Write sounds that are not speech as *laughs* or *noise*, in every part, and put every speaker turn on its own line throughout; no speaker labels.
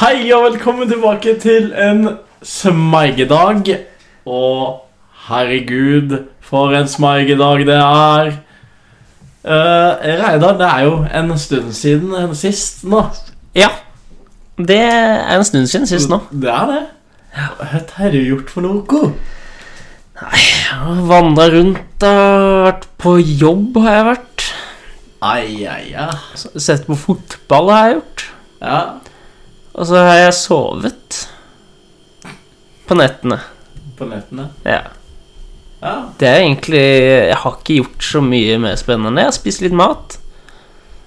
Hei og velkommen tilbake til en smeigedag. Og herregud, for en smeigedag det er. Eh, Reidar, det er jo en stund siden sist nå.
Ja. Det er en stund siden sist nå.
Det er det. Hva har du gjort for noe?
Vandra rundt, da. vært på jobb har jeg vært.
Ai, ai, ai.
Sett på fotball har jeg gjort.
Ja.
Og så har jeg sovet. På nettene.
På nettene.
Ja.
Ja.
Det er egentlig Jeg har ikke gjort så mye mer spennende. Jeg har spist litt mat.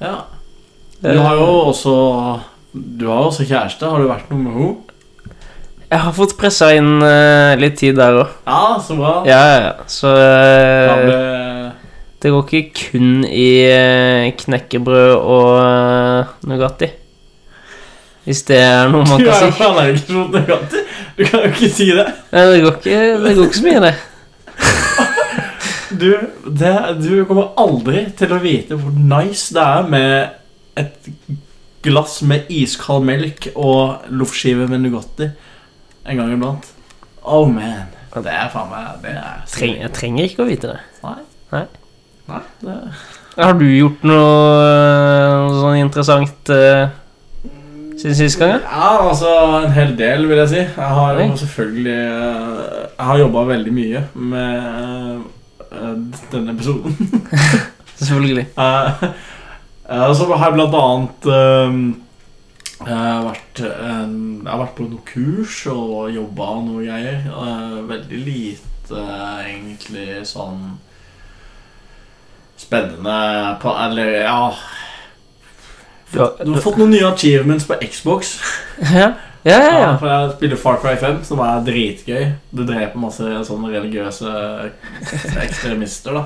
ja. Du
Eh.
har jo også Du har jo også kjæreste. Har du vært noe med henne?
Jeg har fått pressa inn eh, litt tid der òg.
Ja, så bra.
Ja, ja, ja. Så eh,
Har du-
det går ikke kun i eh, knekkebrød og eh, Nugatti. Hvis det er noe man
Du
kan
er
si.
jo allergisk mot Nugatti. Du kan jo ikke si det.
Nei, det går ikke, det går ikke så mye, det.
Du, det, du kommer aldri til å vite hvor nice det er med et glass med iskald melk og loffskive med Nugatti en gang iblant. Oh man. Det er faen meg Det er
Treng, jeg trenger ikke å vite det.
Nei.
Nei.
Nei, det
Har du gjort noe, øh, noe sånn interessant øh, siden sist gang? Ja?
Ja, altså en hel del, vil jeg si. Jeg har jo
Oi.
selvfølgelig eh, Jeg har jobba veldig mye med eh, denne episoden.
Selvfølgelig.
Eh, *laughs* eh, så har jeg blant annet eh, eh, vært, eh, Jeg har vært på noen kurs og jobba og noe greier. Eh, veldig lite eh, egentlig sånn spennende på Eller ja
Du har,
Du
du,
har fått noen nye achievements på Xbox.
ja, ja, ja. ja.
Ja, for jeg spiller Far Cry 5, som er dritgøy. Du dreper masse sånne religiøse ekstremister, da.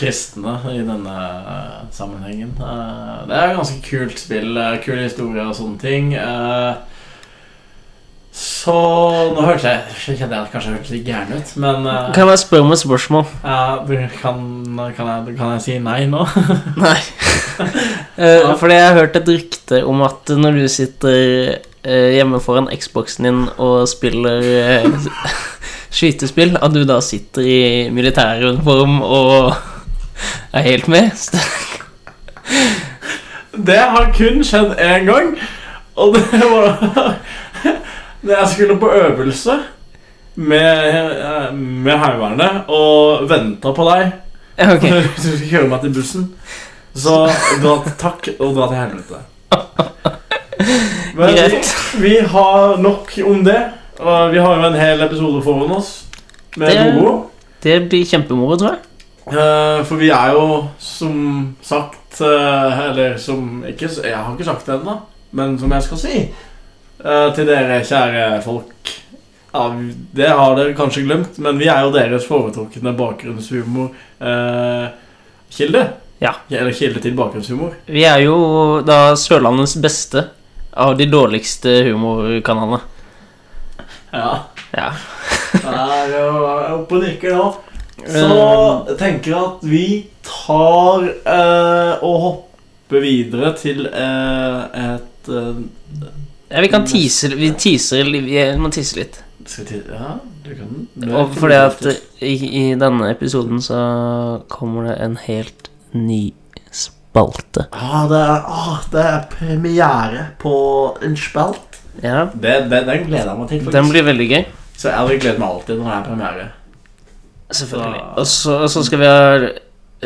Kristne i denne eh, sammenhengen. Eh, Det er et ganske kult spill. eh, Kul historie og sånne ting. Eh, Så nå hørte jeg Kjente jeg at jeg kanskje hørtes litt gæren ut, men eh,
Kan jeg spørre om et spørsmål?
ja, du- kan, kan, jeg, kan jeg si nei nå? *laughs*
*laughs* Nei.
Ja.
Eh, fordi jeg har hørt et rykte om at når du sitter øh, hjemme foran Xboxen din og spiller øh, *laughs* skytespill, at du da sitter i militæruniform og *laughs* er helt med. *laughs*
Det har kun skjedd én gang. Og det var *laughs* da jeg skulle på øvelse med, eh, med Heimevernet og venta på deg
Ja, Ok.
når *laughs* du skulle kjøre meg til bussen. Så dra til takk, og dra til helvete. Men vi, vi har nok om det. Og vi har jo en hel episode foran oss med
Det-
Gogo.
Det blir kjempemoro, tror jeg.
Eh, for vi er jo, som sagt eh, Eller som ikke s- Jeg har ikke sagt det ennå, men som jeg skal si eh, til dere kjære folk ja, Det har dere kanskje glemt, men vi er jo deres foretrukne bakgrunnshumorkilde.
Ja.
Eller kilde til bakgrunnshumor.
Vi er jo da Sørlandets beste av de dårligste humorkanalene.
Ja.
Ja.
Det er jo oppe og nikker nå.
Eh,
Så tenker jeg at vi tar eh, og hopper videre til eh, et eh,
Ja, vi kan tease Vi teaser li- Vi må tease litt.
Skal vi til Ja, du kan den. Du er
Og
ikke
fordi at
bedriftig.
i, i denne episoden så kommer det en helt ny spalte.
ah, det, er, ah, det er premiere på en spelt.
Ja,
den gleder jeg meg til.
den blir veldig gøy.
Så jeg hadde gledet meg alltid når det er premiere.
Selvfølgelig. Og så, og så skal vi ha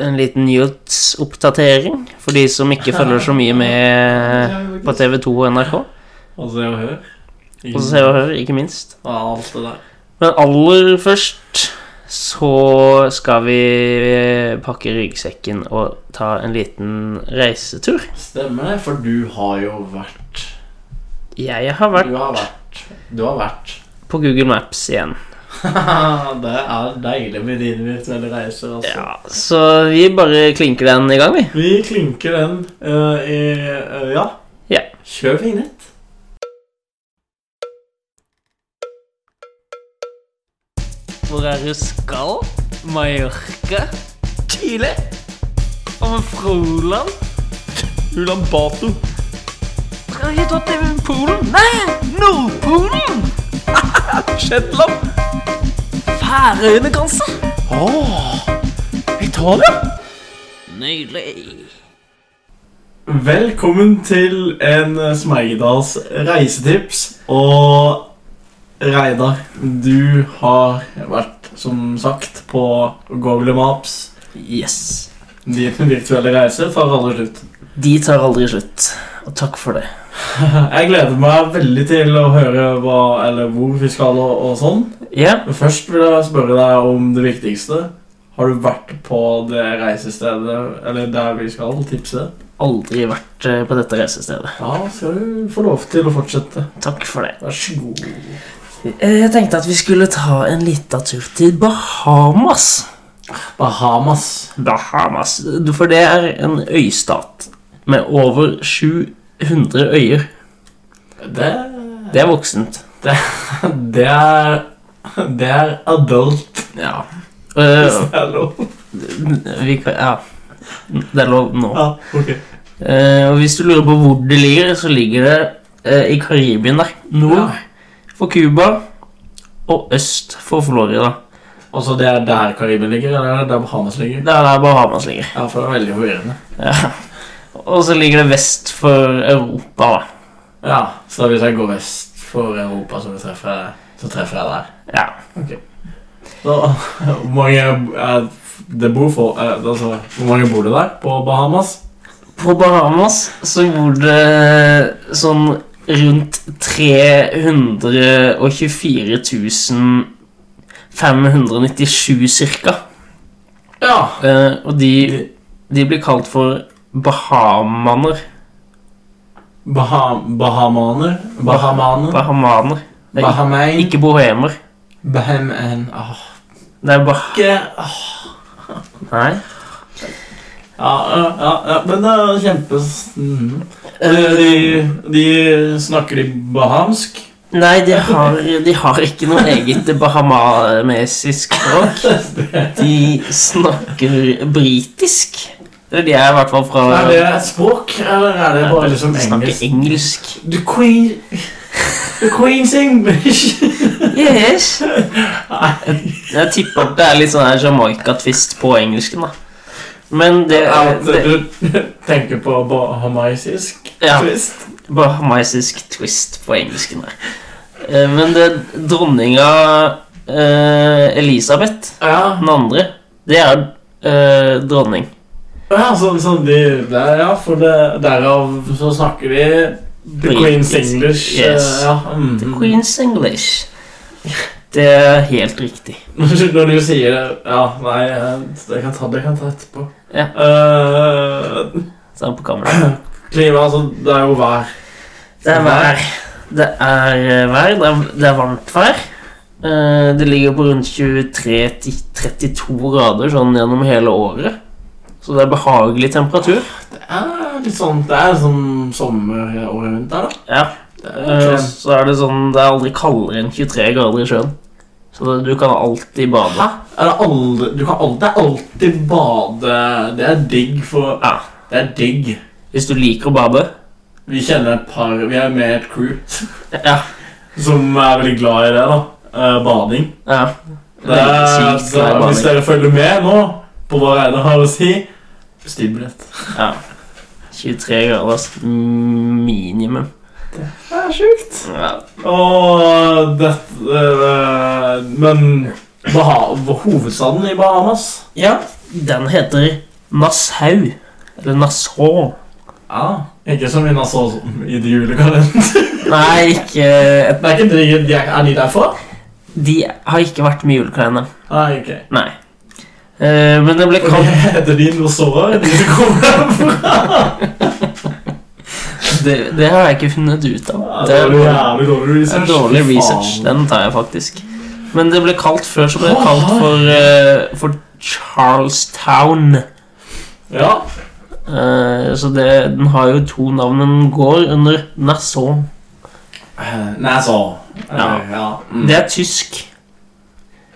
en liten nyhetsoppdatering for de som ikke følger så mye med på TV2 og NRK.
Og Se Eh, og Hør.
Og så Se og Hør, ikke minst.
Ja, alt det der.
Men aller først så skal vi pakke ryggsekken og ta en liten reisetur.
Stemmer det, for du har jo vært
Jeg har
Du
vært
har vært Du har vært *laughs*
på Google Maps igjen.
Det er deilig med dine virtuelle reiser, altså.
Ja, Så vi bare klinker den i gang, vi.
Vi klinker den eh, i eh, Ja.
Ja.
Kjør vignett.
Hvor er du skal? Mallorca? Chile? Og med Froland?
Ulan Bato.
Skal jeg ta til Polen? Nei, Nordpolen! *laughs*
Shetland.
Færøyene, kanskje?
Åh, Italia.
Nydelig.
Velkommen til en eh, Smeigedals reisetips. Og Reidar, du har vært, som sagt, på Google Maps.
Yes.
Din virtuelle reise tar aldri slutt. *laughs*
De tar aldri slutt, og takk for det.
Jeg gleder meg veldig til å høre hva, eller hvor vi skal og, og sånn.
Ja,
Men først vil jeg spørre deg om det viktigste. Har du vært på det reisestedet, eller der vi skal, tipset?
aldri vært eh, på dette reisestedet.
Ja, skal du få lov til å fortsette.
Takk for det.
Vær så god.
Eh, Jeg tenkte at vi skulle ta en liten tur til Bahamas.
Bahamas.
Bahamas. For det er en øystat med over 700 øyer.
Det,
Det er voksent.
det er Det er adult.
Ja. Eh,
Det er lov.
vi kan, ja. Det er lov nå.
Ja, ok.
Eh, og hvis du lurer på hvor det ligger, så ligger det eh, i Karibien der. Nord for Cuba og øst for Florida.
Og så det er der Karibien ligger, eller er det der Bahamas ligger?
Det er der Bahamas ligger.
Ja, for det er veldig forvirrende.
Ja. Og så ligger det vest for Europa, da.
Ja, så hvis jeg går vest for Europa, så treffer jeg, så treffer jeg der.
Ja.
Så, hvor mange eh, det bor for, eh, altså, Hvor mange bor det der på Bahamas?
På Bahamas så bor det sånn rundt 324 597 cirka.
Ja.
Eh, og de, de blir kalt for bahamaner.
Baham Bahamaner? Bahamaner?
Bahamaner. Det er
Bahamain? ah.
Ikke bohemer.
Bahamain Åh,
Det er bah...
ikke
Nei.
Ja, ja, ja, ja, men det er kjempes... Mhm. Eh, De, de snakker de bahamsk?
Nei, de har, de har ikke noe eget bahamamesisk språk. De snakker britisk. Eller de er i hvert fall fra
Er det et språk, eller er det bare liksom
De
engelsk?
snakker engelsk.
The queen... The queen's English!
Yes. Jeg tipper at det er litt sånn her Jamaica-twist på engelsken, da. Men *laughs* det,
At eh,
det
du tenker på bahamaisisk
Ja.
twist?
Bahamaisisk twist på engelsken der. Eh, Men det dronninga eh, Elisabeth,
Ja,
den andre, det er eh, dronning.
ja sånn som de der, ja, for det, derav så snakker de The queen's
Britisk,
English. eh,
yes.
Ja, mhm.
The Queen's English. Det er helt riktig.
*laughs* Når du sier det Ja, nei, jeg kan ta det jeg kan ta etterpå.
Ja.
Eh,
Så er han på kamera.
klima, altså, det er jo vær.
Det er vær. Det er eh, vær. Det er, det er varmt vær. Eh, Det ligger på rundt 23 til 32 grader sånn gjennom hele året. Så det er behagelig temperatur.
Det er litt sånn Det er sånn sommer og vinter, da.
Ja.
Det
Eh,
er,
Så er det sånn Det er aldri kaldere enn 23 grader i sjøen. Så det, du kan alltid bade.
Hæ? er det aldri, du kan alltid, det er alltid bade Det er digg for
Ja.
Det er digg.
Hvis du liker å bade.
Vi kjenner et par Vi er med i et crew *laughs*
Ja.
som er veldig glad i det, da. Eh, bading.
ja.
Det er,
sykt
så,
glad i
hvis
bading.
dere følger med nå på hva Reidar har å si, bestill billett.
Ja. 23 grader, altså. Minimum.
Det er sjukt.
Ja.
Og dette eh, Men Baha hovedstaden i Bahamas
ja. Den heter Nassau. Eller Nassau. Ah.
Ja, Ikke som vi nå så i det julekalenderen.
Nei, ikke
Det er ikke de, de er, er de derfra?
De har ikke vært med i julekalenderen.
Nei, ok.
Nei. Eh, men det ble
Og
*laughs* kalt
de heter de Nosorer, de som kommer derfra?
det, det har jeg ikke funnet ut av.
Ja, *laughs* Det var jævlig dårlig
Det er
research.
dårlig
Fy
research.
faen.
Den tar jeg faktisk. Men det ble kalt før så ble det kalt for, eh, for Charlestown.
Ja.
Eh, så det, den har jo to navn. Den går under Nassau.
Eh, Nei, så
Ja.
Eh, ja. Mm.
Det er tysk.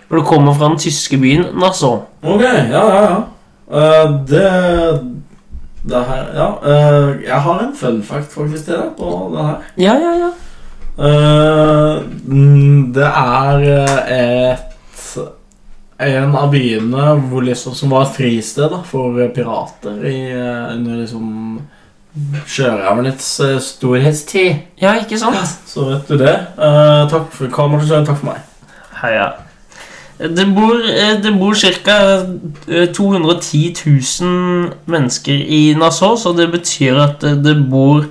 For det kommer fra den tyske byen Nassau.
Ok, ja, ja, ja. Eh, det Det her, ja, eh, jeg har en fun fact faktisk til deg på det her.
Ja, ja, ja.
Eh, mm, det er eh, et En av byene hvor liksom, som var et fristed da, for eh, pirater i, eh, under liksom sjørøvernes eh, storhetstid.
Ja, ikke sant?
Så vet du det. Eh, takk for kameraet, så takk for meg.
Heia. Det bor, eh, det bor eh, ca. 210 000 mennesker i Nassau, så det betyr at eh, det bor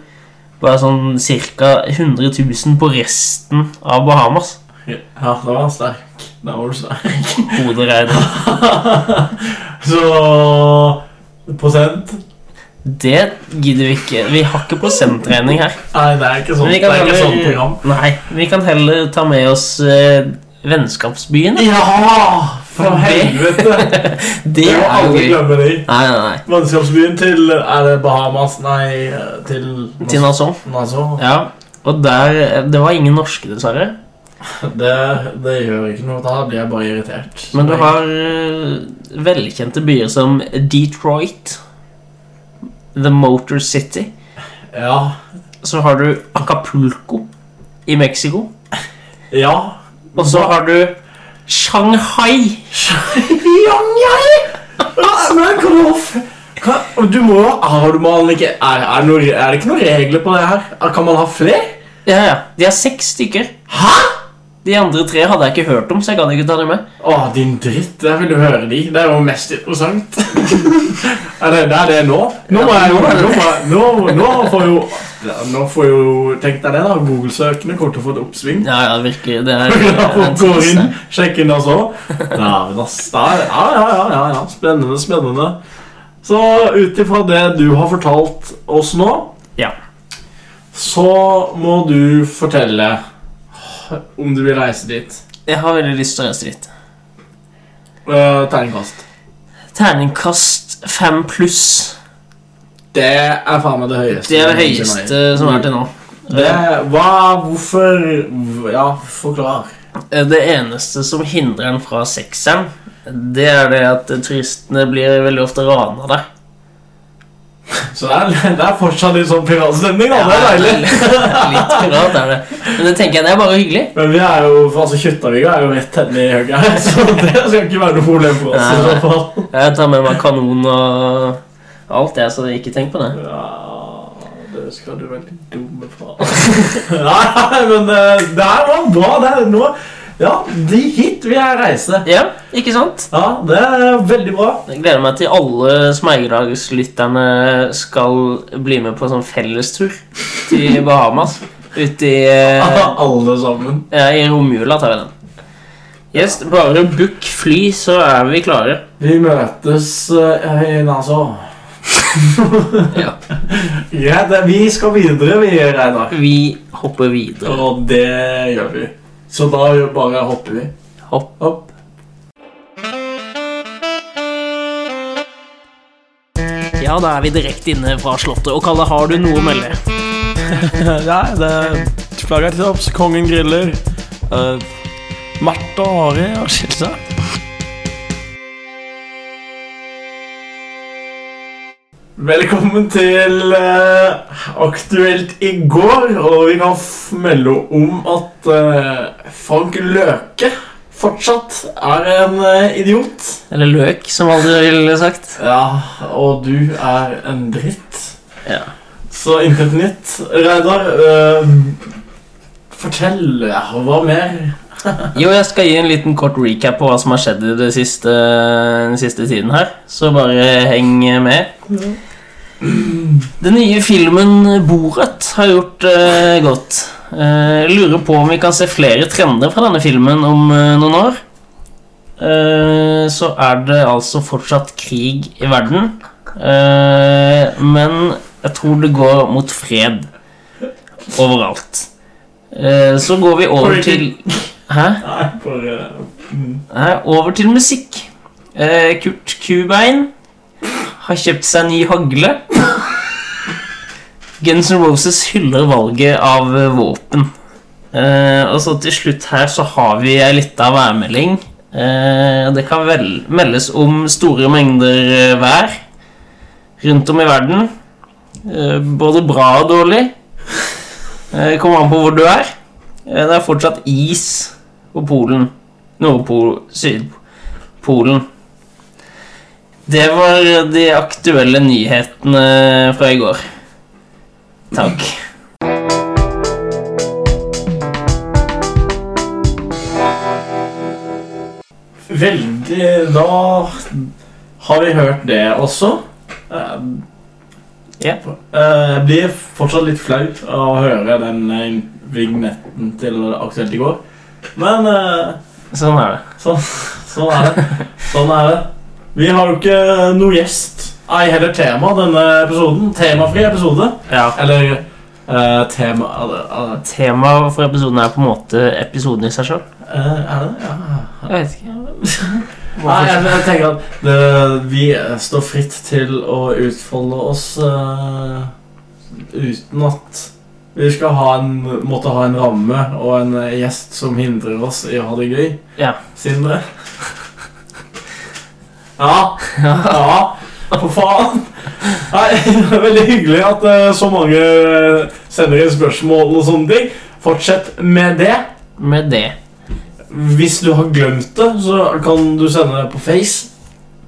bare sånn ca. 100 000 på resten av Bahamas.
Ja, da var han sterk. Da var du *laughs* sterk.
Hoderegning.
så Prosent?
Det gidder vi ikke. Vi har ikke prosentregning her.
Nei, det er ikke sånn,
Men vi
det
kan
er ikke
heller-
sånn program.
Nei, vi kan heller ta med oss eh, vennskapsbyene.
Ja! For helvete!
*laughs*
Du
Det
må
er jo
aldri
gøy.
glemme de.
Nei, nei, nei.
Vennskapsbyen til Er det Bahamas? Nei, til
Til Nassau.
Nassau.
Ja, og der eh, Det var ingen norske, dessverre.
Det, det gjør ikke noe. Da blir jeg bare irritert.
Men du har eh, velkjente byer som Detroit, The Motor City.
Ja.
Så har du Acapulco i Mexico.
Ja. *laughs*
Og så har du Shanghai.
Shanghai! Men kom off! Hva? Du må jo Har du man ikke er, er, det noe, er det ikke noen regler på det her? Kan man ha flere?
Ja, ja. De har seks stykker.
Hæ?!
De andre tre hadde jeg ikke hørt om, så jeg gadd ikke ta dem med.
Å, din dritt. Jeg vil jo høre de. Det er jo mest
*laughs*
interessant. er det, det er det nå? Nå, må jeg, jo- nå, må jeg- nå, nå får jo Nå får jo Tenk deg det, da. Google-søkende kommer til å få et oppsving. *laughs*
Ja, ja, virkelig. Det er, det er en
Går
trist,
inn,
det.
sjekker inn altså. Dæven, ass. Det er- Ja, ja, ja, ja, ja. Spennende, spennende. Så ut ifra det du har fortalt oss nå,
Ja.
så må du fortelle om du vil reise dit.
Jeg har veldig lyst til å reise dit.
Eh, Terningkast.
Terningkast fem pluss.
Det er faen meg det høyeste.
Det er det høyeste som er til nå.
Det, hva, hvorfor Ja, forklar.
Eh, Det eneste som hindrer den fra sekseren, det er det at turistene blir veldig ofte rana der.
Så det er, *laughs* det er fortsatt litt sånn piratstemning, da. Det er deilig.
*laughs* Litt pirat er det. Men det tenker jeg, det er bare hyggelig.
Men vi er jo, altså Kjøttaviga er jo rett henne i høyre her, *laughs* så det skal ikke være noe problem for oss. i
Nei.
så fall.
Jeg tar med meg kanon og alt, jeg, så ikke tenk på det.
Ja, det skal du være litt dumme for. *laughs* Nei, men eh, det her var bra. det er nå, Ja, det er hit vil jeg reise.
Ja, ikke sant?
Ja, det er veldig bra.
Jeg gleder meg til alle Smeigedagslytterne skal bli med på en sånn fellestur til Bahamas. Ute i, eh,
*laughs* Alle sammen.
ja, i romjula tar vi den. Yes, bare book fly, så er vi klare.
Vi møtes eh, i Nassau.
Ja.
Ja, det, vi skal videre, vi, Reidar.
Vi hopper videre.
Og det gjør vi. Så da gjør- bare hopper vi.
Hopp.
Hopp.
Ja, da er vi direkte inne fra Slottet. Og Kalle, har du noe å melde?
Nei, det er flagget til topps. Kongen griller. Uh, Marte og Ari har skilt seg.
Velkommen til eh, Aktuelt i går, og vi kan f- melde om at eh, Frank Løke fortsatt er en eh, idiot.
Eller løk, som alle ville sagt.
Ja, og du er en dritt.
Ja.
Så intet nytt. Reidar, eh, fortell. Hva mer?
Jo, jeg skal gi en liten kort recap på hva som har skjedd i det siste, den siste tiden her. Så bare heng med. Den nye filmen Borat har gjort eh, godt. Eh, lurer på om vi kan se flere trender fra denne filmen om eh, noen år. Eh, så er det altså fortsatt krig i verden. Eh, men jeg tror det går mot fred overalt. Eh, så går vi over til Hæ?
Nei, bare mm.
Nei, over til musikk. Eh, Kurt Kubein har kjøpt seg ny hagle. Guns N' Roses hyller valget av eh, våpen. Eh, og så til slutt her så har vi ei lita værmelding. Eh, det kan vel meldes om store mengder eh, vær. rundt om i verden. Eh, Både bra og dårlig. Eh, Kommer an på hvor du er. Eh, Det er fortsatt is på Polen. Nordpol... Sydpolen. Det var de aktuelle nyhetene fra i går. Takk.
Veldig Da har vi hørt det også. Eh,
Ja.
eh, Jeg blir fortsatt litt flau av å høre den eh, vignetten til Aktuelt i går. Men eh,
Sånn er det.
sånn, sånn er det. Sånn er det. Vi har jo ikke noe gjest, ei heller tema, denne episoden. Temafri episode.
Ja.
Eller eh, tema eller, eh,
Temaet for episoden er på en måte episoden i seg sjøl.
eh, Er det det? Ja.
Jeg vet *laughs* ikke.
Nei, jeg, Ah, jeg tenker at det, vi står fritt til å utfolde oss eh, uten at vi skal ha en, måtte ha en ramme og en eh, gjest som hindrer oss i å ha det gøy.
Ja.
Sindre? Ja. Ja. For faen. Nei, *laughs* det er veldig hyggelig at eh, så mange eh, sender inn spørsmål og sånne ting. Fortsett med det.
Med det
Hvis du har glemt det, så kan du sende det på Face.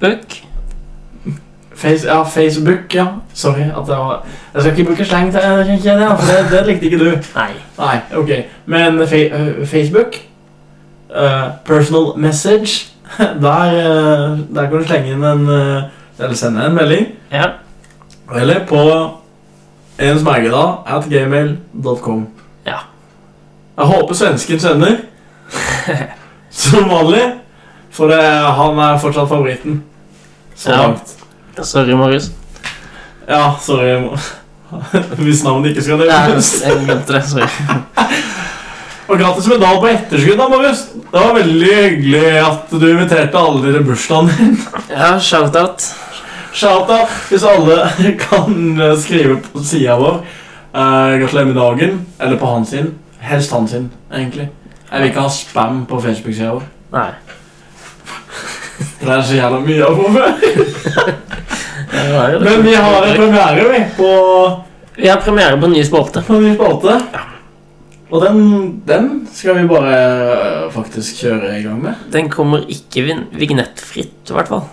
Bøk.
Face, ja, Facebook, ja. Sorry. at Jeg var Jeg skal ikke bruke sleng, til det, kjenner jeg, det, for det, det likte ikke du.
Nei.
Nei, ok. Men fe, øh, Facebook øh, Personal message. *laughs* Der, øh, der kan du slenge inn en øh, Eller sende en melding.
Ja.
Eller på ensmergedag at gmail.com.
Ja.
Jeg håper svensken
*laughs*
sender. Som vanlig. For det, han er fortsatt favoritten. Så
Ja.
langt.
Sorry, Marius.
Ja, sorry. jeg må- *laughs* Hvis navnet ikke skal nevnes.
Jeg glemte det. Sorry.
Og gratis medalje på etterskudd, da, Marius. Det var veldig hyggelig at du inviterte alle dere bursdagene *laughs* dine.
Ja, shout-out.
Shout-out hvis alle *laughs* kan eh, skrive på sida vår. eh, Gratulerer med dagen. Eller på han sin. Helst han sin, egentlig. Jeg vil ikke ha spam på Facebook-sida vår.
Nei.
Det er så jævla mye av på før.
det var jo det.
Men vi har en premiere, vi, på
Vi har premiere på en ny spalte.
på en ny spalte. Og den, den skal vi bare øh, faktisk kjøre i gang med.
Den kommer ikke vin- vignettfritt, i hvert fall.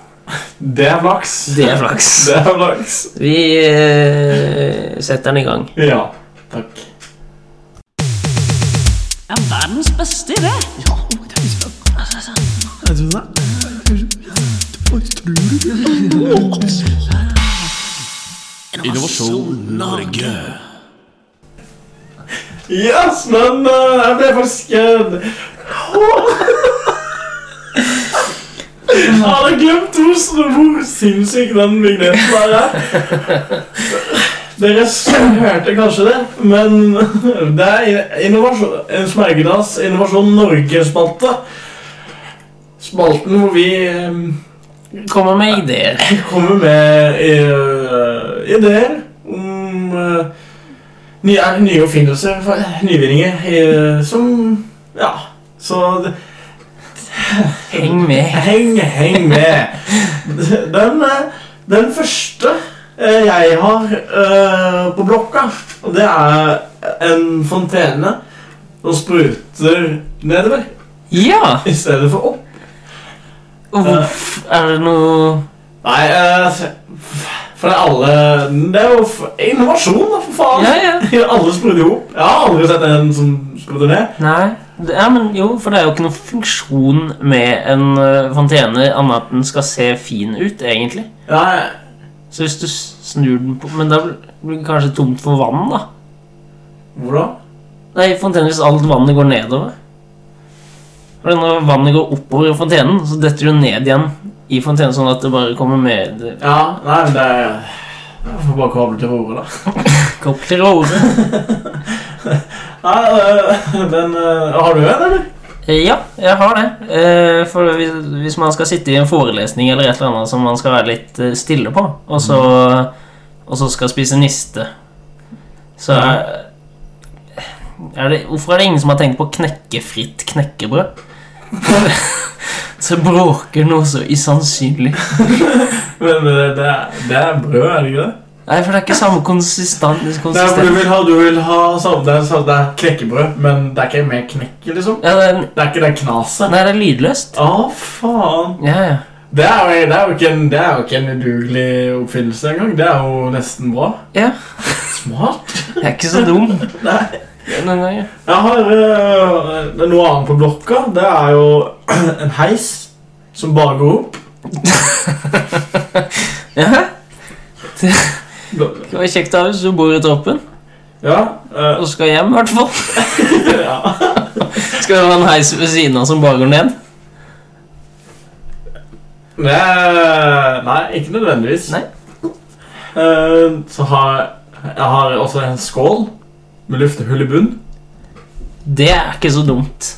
Det er flaks.
Det er flaks.
*laughs* Det er flaks.
Vi eh, setter den i gang.
Ja. Takk.
er verdens beste idé.
Yes, men øh, jeg ble faktisk eh, *laughs* Jeg hadde glemt hvor, hvor sinnssyk den vignetten der
*laughs*
er. Dere s- hørte kanskje det, men *laughs* det er innovasjon, en Smergedas Innovasjon Norge-spalte. Spalten hvor vi øh,
Kommer med ideer.
kommer med eh, ideer om eh, nye, er det nye oppfinnelser, for- nyvinninger, eh, som Ja, så det-
Heng med.
heng, heng med. Den, eh, den første eh, jeg har eh, på blokka, og det er en fontene som spruter nedover
Ja!
i stedet for opp.
Og Hvorf, er det noe
Nei, eh, for alle Det er jo f- innovasjon, da, for faen.
Ja, ja.
*laughs* alle sprudler jo opp. Jeg har aldri sett en som sprudler ned.
Nei. Det, ja, men jo, for det er jo ikke noen funksjon med en eh, fontene annet at den skal se fin ut, egentlig.
Nei,
Så hvis du s- snur den på Men da blir det kanskje tomt for vann, da?
hvor da?
Nei, fontenen hvis alt vannet går nedover. For når vannet går oppover i fontenen, så detter det jo ned igjen i fontenen, sånn at det bare kommer med det
Ja, nei, men det er Jeg får bare koble til roret, da.
kopler og over.
Nei, eh, *laughs* den eh, Har du en, eller?
Eh, Ja, jeg har det. Eh, For hvis hvis man skal sitte i en forelesning eller et eller annet som man skal være litt eh, stille på, og så,
Mm.
og så skal spise niste, så er, er det, Hvorfor er det ingen som har tenkt på knekkefritt knekkebrød? *laughs* så bråker noe så usannsynlig.
Men det, det, er, det er brød, er det ikke det?
Nei, for det er ikke samme konsistens.
Nei, for du
konsistens.
vil ha, du vil ha sånn, det, er, sånn- det er knekkebrød, men det er ikke mer knekk, liksom.
Ja, det er,
Det er ikke det knaset.
nei, det er lydløst.
Å, faen.
Ja, ja.
Det er, jo, det, er jo ikke en, det er jo ikke en udugelig oppfinnelse engang. Det er jo nesten bra.
Ja,
Smart.
jeg er ikke så dum.
*laughs* Nei.
Noen ganger.
Jeg har øh, det er noe annet på blokka. Det er jo *clears throat* en heis som bare går opp.
Ja, det var kjekt av hvis du bor i toppen
Ja, øh,
og skal hjem, i hvert fall.
ja.
*laughs* Skal det være en heis ved siden av som bare går ned?
Nei, nei, ikke nødvendigvis.
Nei.
Eh, så har jeg jeg har også en skål med luftehull i bunn.
Det er ikke så dumt.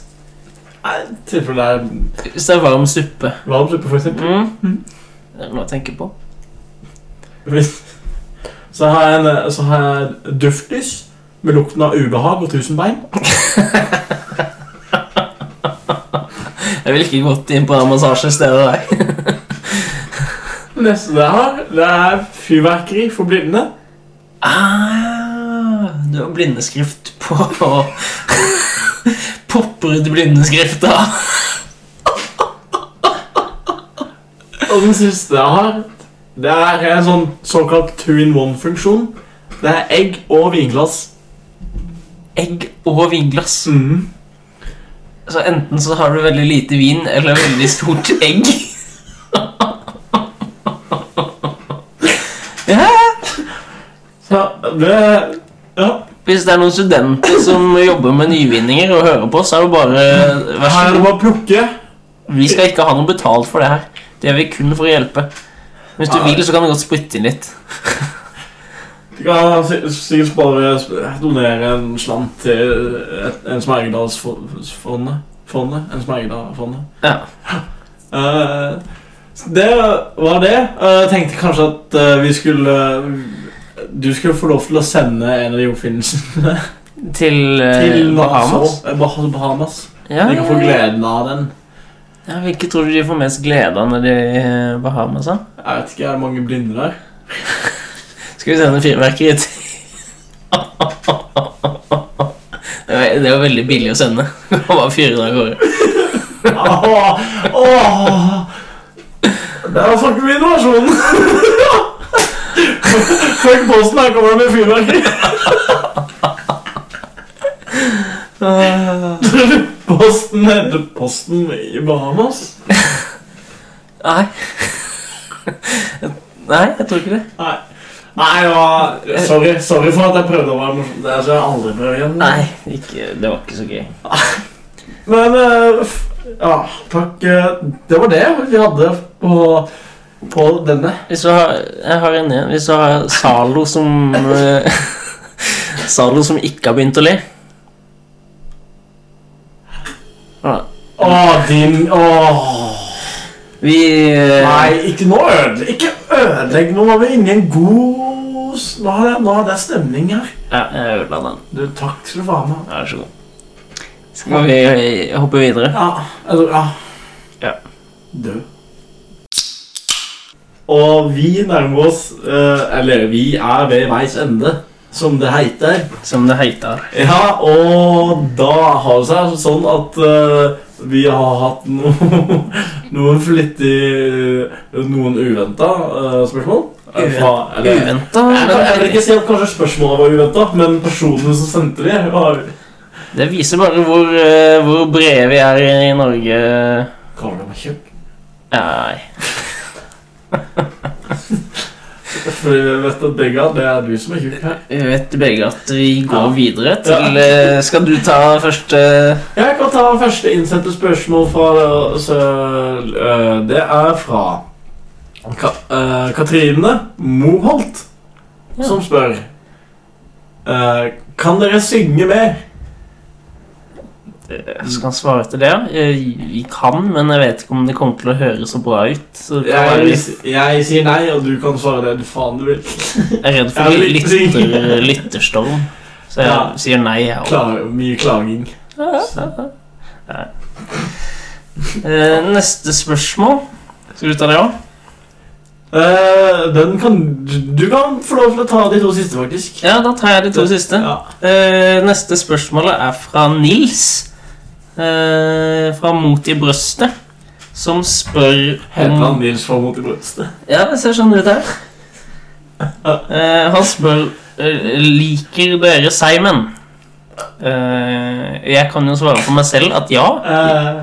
Nei, I tilfelle det
Hvis det er varm suppe.
er varm suppe, for eksempel.
Mm. Det er noe å tenke på.
Hvis- Så har jeg, en, eh, så har jeg duftlys med lukten av ubehag og tusen bein.
Jeg ville ikke gått inn på det massasjestedet der.
Neste jeg har, det er fyrverkeri for blinde.
*laughs* Ah, du har blindeskrift på *laughs* Popper ut blindeskrifta.
Og den siste jeg har, det er en sånn såkalt two-in-one-funksjon. Det er egg og vinglass.
Egg og vinglass.
Mm.
Så enten så har du veldig lite vin eller veldig stort egg. Ja,
Så det Ja.
hvis det er noen studenter som jobber med nyvinninger og hører på, så er det bare Vær
Her er
så
det
god.
bare å plukke.
Vi skal ikke ha noe betalt for det her. Det gjør vi kun for å hjelpe. Hvis
Ah.
du vil, så kan du godt splitte inn litt.
Du kan si- sikkert bare sp- donere en slant til et- en Smergedalsfondet. Fondet? En Smergedalfondet.
Ja.
Eh, så det var det. Eh, Jeg tenkte kanskje at eh, vi skulle eh, Du skulle få lov til å sende en av de oppfinnelsene
Til, eh,
til
Bahamas?
Nassau. Eh, Bah- Bahamas.
Ja,
De kan få
ja, ja.
gleden av den.
Ja, Hvilke tror du de får mest glede av når de er i Bahamas? da?
Jeg vet ikke, er det mange blinde der?
Skal vi sende fyrverkeri til *laughs* Det var- Det var veldig billig å sende. *laughs* Det var bare fire dager av året.
Åh, åh. Der snakker vi innovasjon! Fuck posten, her kommer det med fyrverkeri. Tror du Posten heter Posten i Bahamas?
Nei. *laughs* Nei, jeg tror ikke det.
Nei. Nei, det var, sorry, sorry for at jeg prøvde å være morsom. Det skal jeg aldri prøve igjen.
Nei, ikke, Det var ikke så gøy.
Men eh, f- ja, takk. eh, Det var det vi hadde på, på denne.
Hvis du har, jeg har en igjen. Hvis du har Zalo som eh, *laughs* Zalo som ikke har begynt å le Ah,
Åh, din Åh.
Vi eh,
Nei, ikke nå ødelegg. Ikke ødelegg. Nå var vi inne i en god s- Nå er det, nå er det stemning her.
Ja, jeg ødela den.
Du, takk skal du faen meg.
Vær så god. Skal vi eh, hoppe videre?
Ja, eller ja.
Ja.
Død. Og vi nærmer oss eh, Eller vi er ved veis ende, som det heter.
Som det heter.
Ja, og da har det seg sånn at eh, vi har hatt no, *laughs* noen flittig Noen uventa spørsmål. Eh, fra- eller-
Uventa.
Jeg kan- jeg vil ikke si at kanskje spørsmålet var uventa, men personen som sendte det, var
Det viser bare hvor, eh, hvor brede vi er i Norge.
Kaller du meg tjukk?
Nei.
For vi vet at begge det er du som er tjukk her.
Vi vet begge at vi går
Ja.
videre til
Ja.
eh, Skal du ta første
Jeg kan ta første innsendte spørsmål fra eh, så, eh, Det er fra Ka eh, Katrine Moholt,
Ja.
som spør eh, Kan dere synge mer?
Skal han svare til det? Eh, Vi kan, men jeg vet ikke om det kommer til å høres så bra ut. Så det kan være
Jeg,
litt-
jeg sier nei, og du kan svare det faen du vil.
jeg er redd for
jeg vil ikke
lytter, *laughs* lytterstorm, så jeg
Ja.
sier nei, jeg òg.
Klar, mye klaging.
Eh, neste spørsmål. Skal du ta det òg?
Eh, den kan Du kan få lov til å ta de to siste, faktisk.
Ja, da tar jeg de to siste.
Ja.
Eh, neste spørsmålet er fra Nils. eh, fra Mot i brøstet. Som spør
Helland Nils får mot i brystet.
Ja, det ser sånn ut her. Eh, han spør eh, Liker dere seigmenn? Eh, jeg kan jo svare for meg selv at ja.
Eh,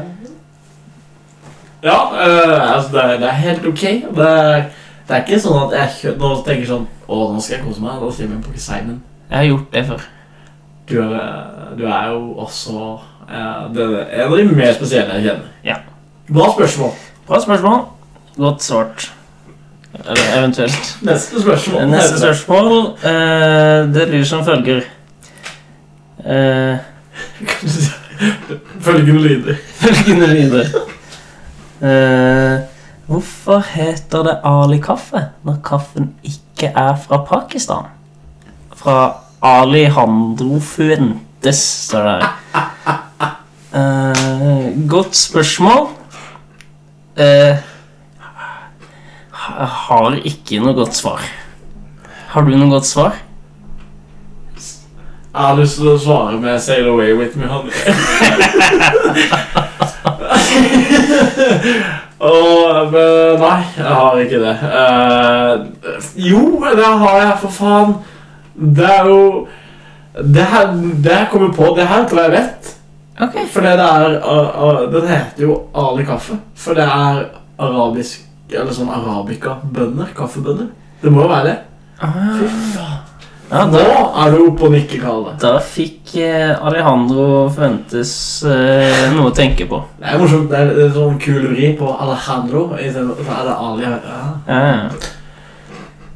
ja, eh, altså det, er, det er helt ok. Det er, det er ikke sånn at jeg kjø- nå tenker sånn Å, nå skal jeg kose meg. Da sier vi på Seinen.
Jeg har gjort det før.
Du, er- du er jo også eh, det, det er en av de mer spesielle jeg kjenner.
Ja.
Bra spørsmål.
Bra spørsmål. Godt svart. Eller eventuelt.
Neste spørsmål.
Neste spørsmål eh, Det lyder som følger eh,
*laughs* Følgende lyder.
Følgende lyder eh, Hvorfor heter det Ali kaffe når kaffen ikke er fra Pakistan? Fra Alejandro Fuentes, står det her. Eh, godt spørsmål. Eh, jeg har ikke noe godt svar. Har du noe godt svar?
Jeg har lyst til å svare med 'Sail away with me, honey'. Og, men nei, jeg har ikke det. Eh, jo, det har jeg, for faen. Det er jo Det her, det her kommer på. Det her tror jeg jeg vet.
Ok
For det er uh, uh, Den heter jo Ali kaffe. For det er arabisk Eller sånn arabica-bønner. Kaffebønner. Det må jo være det. Fy faen.
Ah. Ja,
Nå
da,
er du oppe og nikker, Kalle.
da fikk eh, Alejandro Fuentes eh, noe å tenke på.
Det er morsomt. Det er, det er sånn kul vri på Alejandro. i stedet for- Så er det Ali. Ja,
Ja, ja.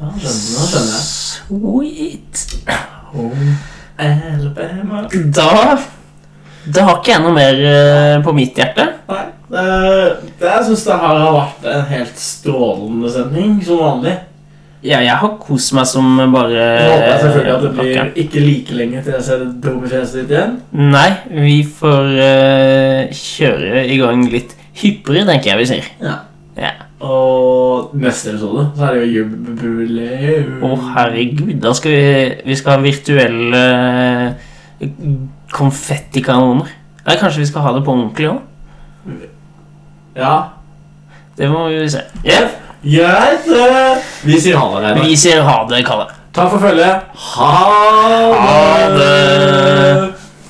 ja skjønner, nå skjønner jeg.
Sweet.
Home, Alabama.
Da Da har ikke jeg noe mer eh, på mitt hjerte.
Nei, det, det, jeg syns det her har vært en helt strålende sending, som vanlig.
Ja, jeg har kost meg som bare
Nå håper jeg selvfølgelig at det
rakkeren.
blir ikke like lenge til jeg ser det dumme fjeset ditt igjen.
Nei, vi får eh, kjøre i gang litt hyppigere, tenker jeg vi sier.
Ja.
Ja.
Og neste episode så er det jo jubileum.
Å, herregud, da skal vi Vi skal ha virtuelle eh, konfettikanoner. Eller kanskje vi skal ha det på ordentlig òg?
Ja.
Det må vi se. Ja,
Greit. eh, Vi sier ha det. Reidar.
Vi sier ha det, Kalle.
Takk for følget. Ha
Ha det.